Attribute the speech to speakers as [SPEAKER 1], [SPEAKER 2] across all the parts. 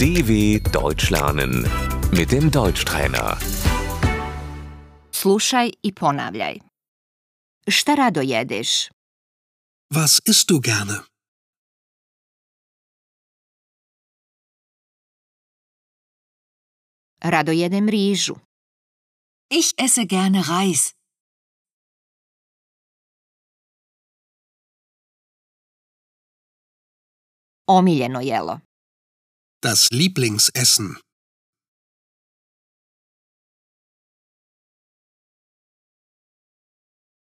[SPEAKER 1] DW Deutsch lernen mit dem Deutschtrainer.
[SPEAKER 2] Slušaj i ponavljaj. Šta rado jedeš?
[SPEAKER 3] Was isst du gerne?
[SPEAKER 2] Rado jedem rižu.
[SPEAKER 4] Ich esse gerne Reis.
[SPEAKER 2] Omiljeno jelo.
[SPEAKER 3] Das Lieblingsessen.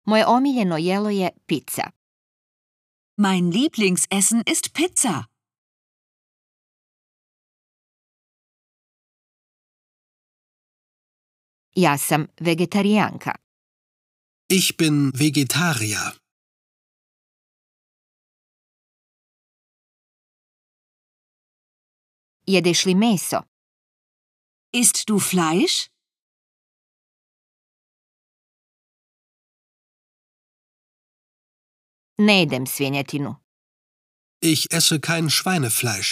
[SPEAKER 2] Moje omiljeno jelo je pizza.
[SPEAKER 4] Mein Lieblingsessen ist Pizza.
[SPEAKER 2] Ja sam vegetarijanka.
[SPEAKER 3] Ich bin Vegetarier.
[SPEAKER 2] Jedeš li meso?
[SPEAKER 4] Isst du Fleisch?
[SPEAKER 2] Ne jedem svinjetinu.
[SPEAKER 3] Ich esse kein Schweinefleisch.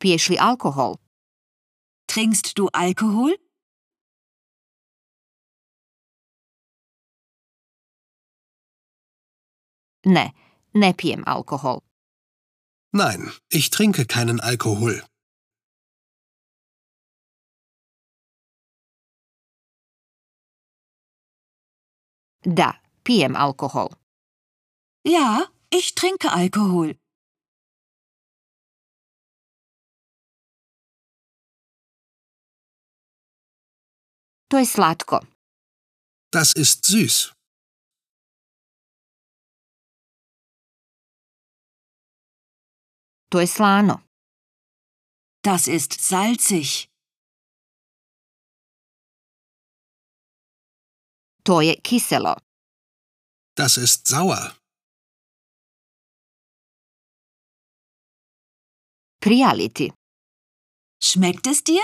[SPEAKER 2] Piješ li alkohol?
[SPEAKER 4] Trinkst du Alkohol?
[SPEAKER 2] Ne, ne pijem alkohol.
[SPEAKER 3] Nein, ich trinke keinen Alkohol.
[SPEAKER 2] Da, pijem alkohol.
[SPEAKER 4] Ja, ich trinke Alkohol.
[SPEAKER 2] To je slatko.
[SPEAKER 3] Das ist süß.
[SPEAKER 2] To je slano.
[SPEAKER 4] Das ist salzig.
[SPEAKER 2] To je kiselo.
[SPEAKER 3] Das ist sauer.
[SPEAKER 2] Prijaliti.
[SPEAKER 4] Schmeckt es dir?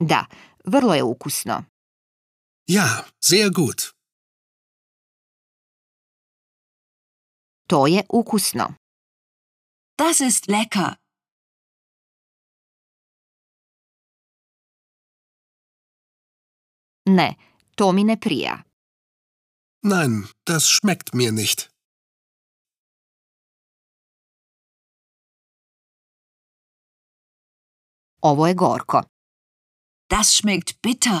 [SPEAKER 2] Da, vrlo je ukusno.
[SPEAKER 3] Ja, sehr gut.
[SPEAKER 2] To je ukusno.
[SPEAKER 4] Das ist lecker.
[SPEAKER 2] Ne, to mi ne prija.
[SPEAKER 3] Nein, das schmeckt mir nicht.
[SPEAKER 2] Ovo je gorko.
[SPEAKER 4] Das schmeckt bitter.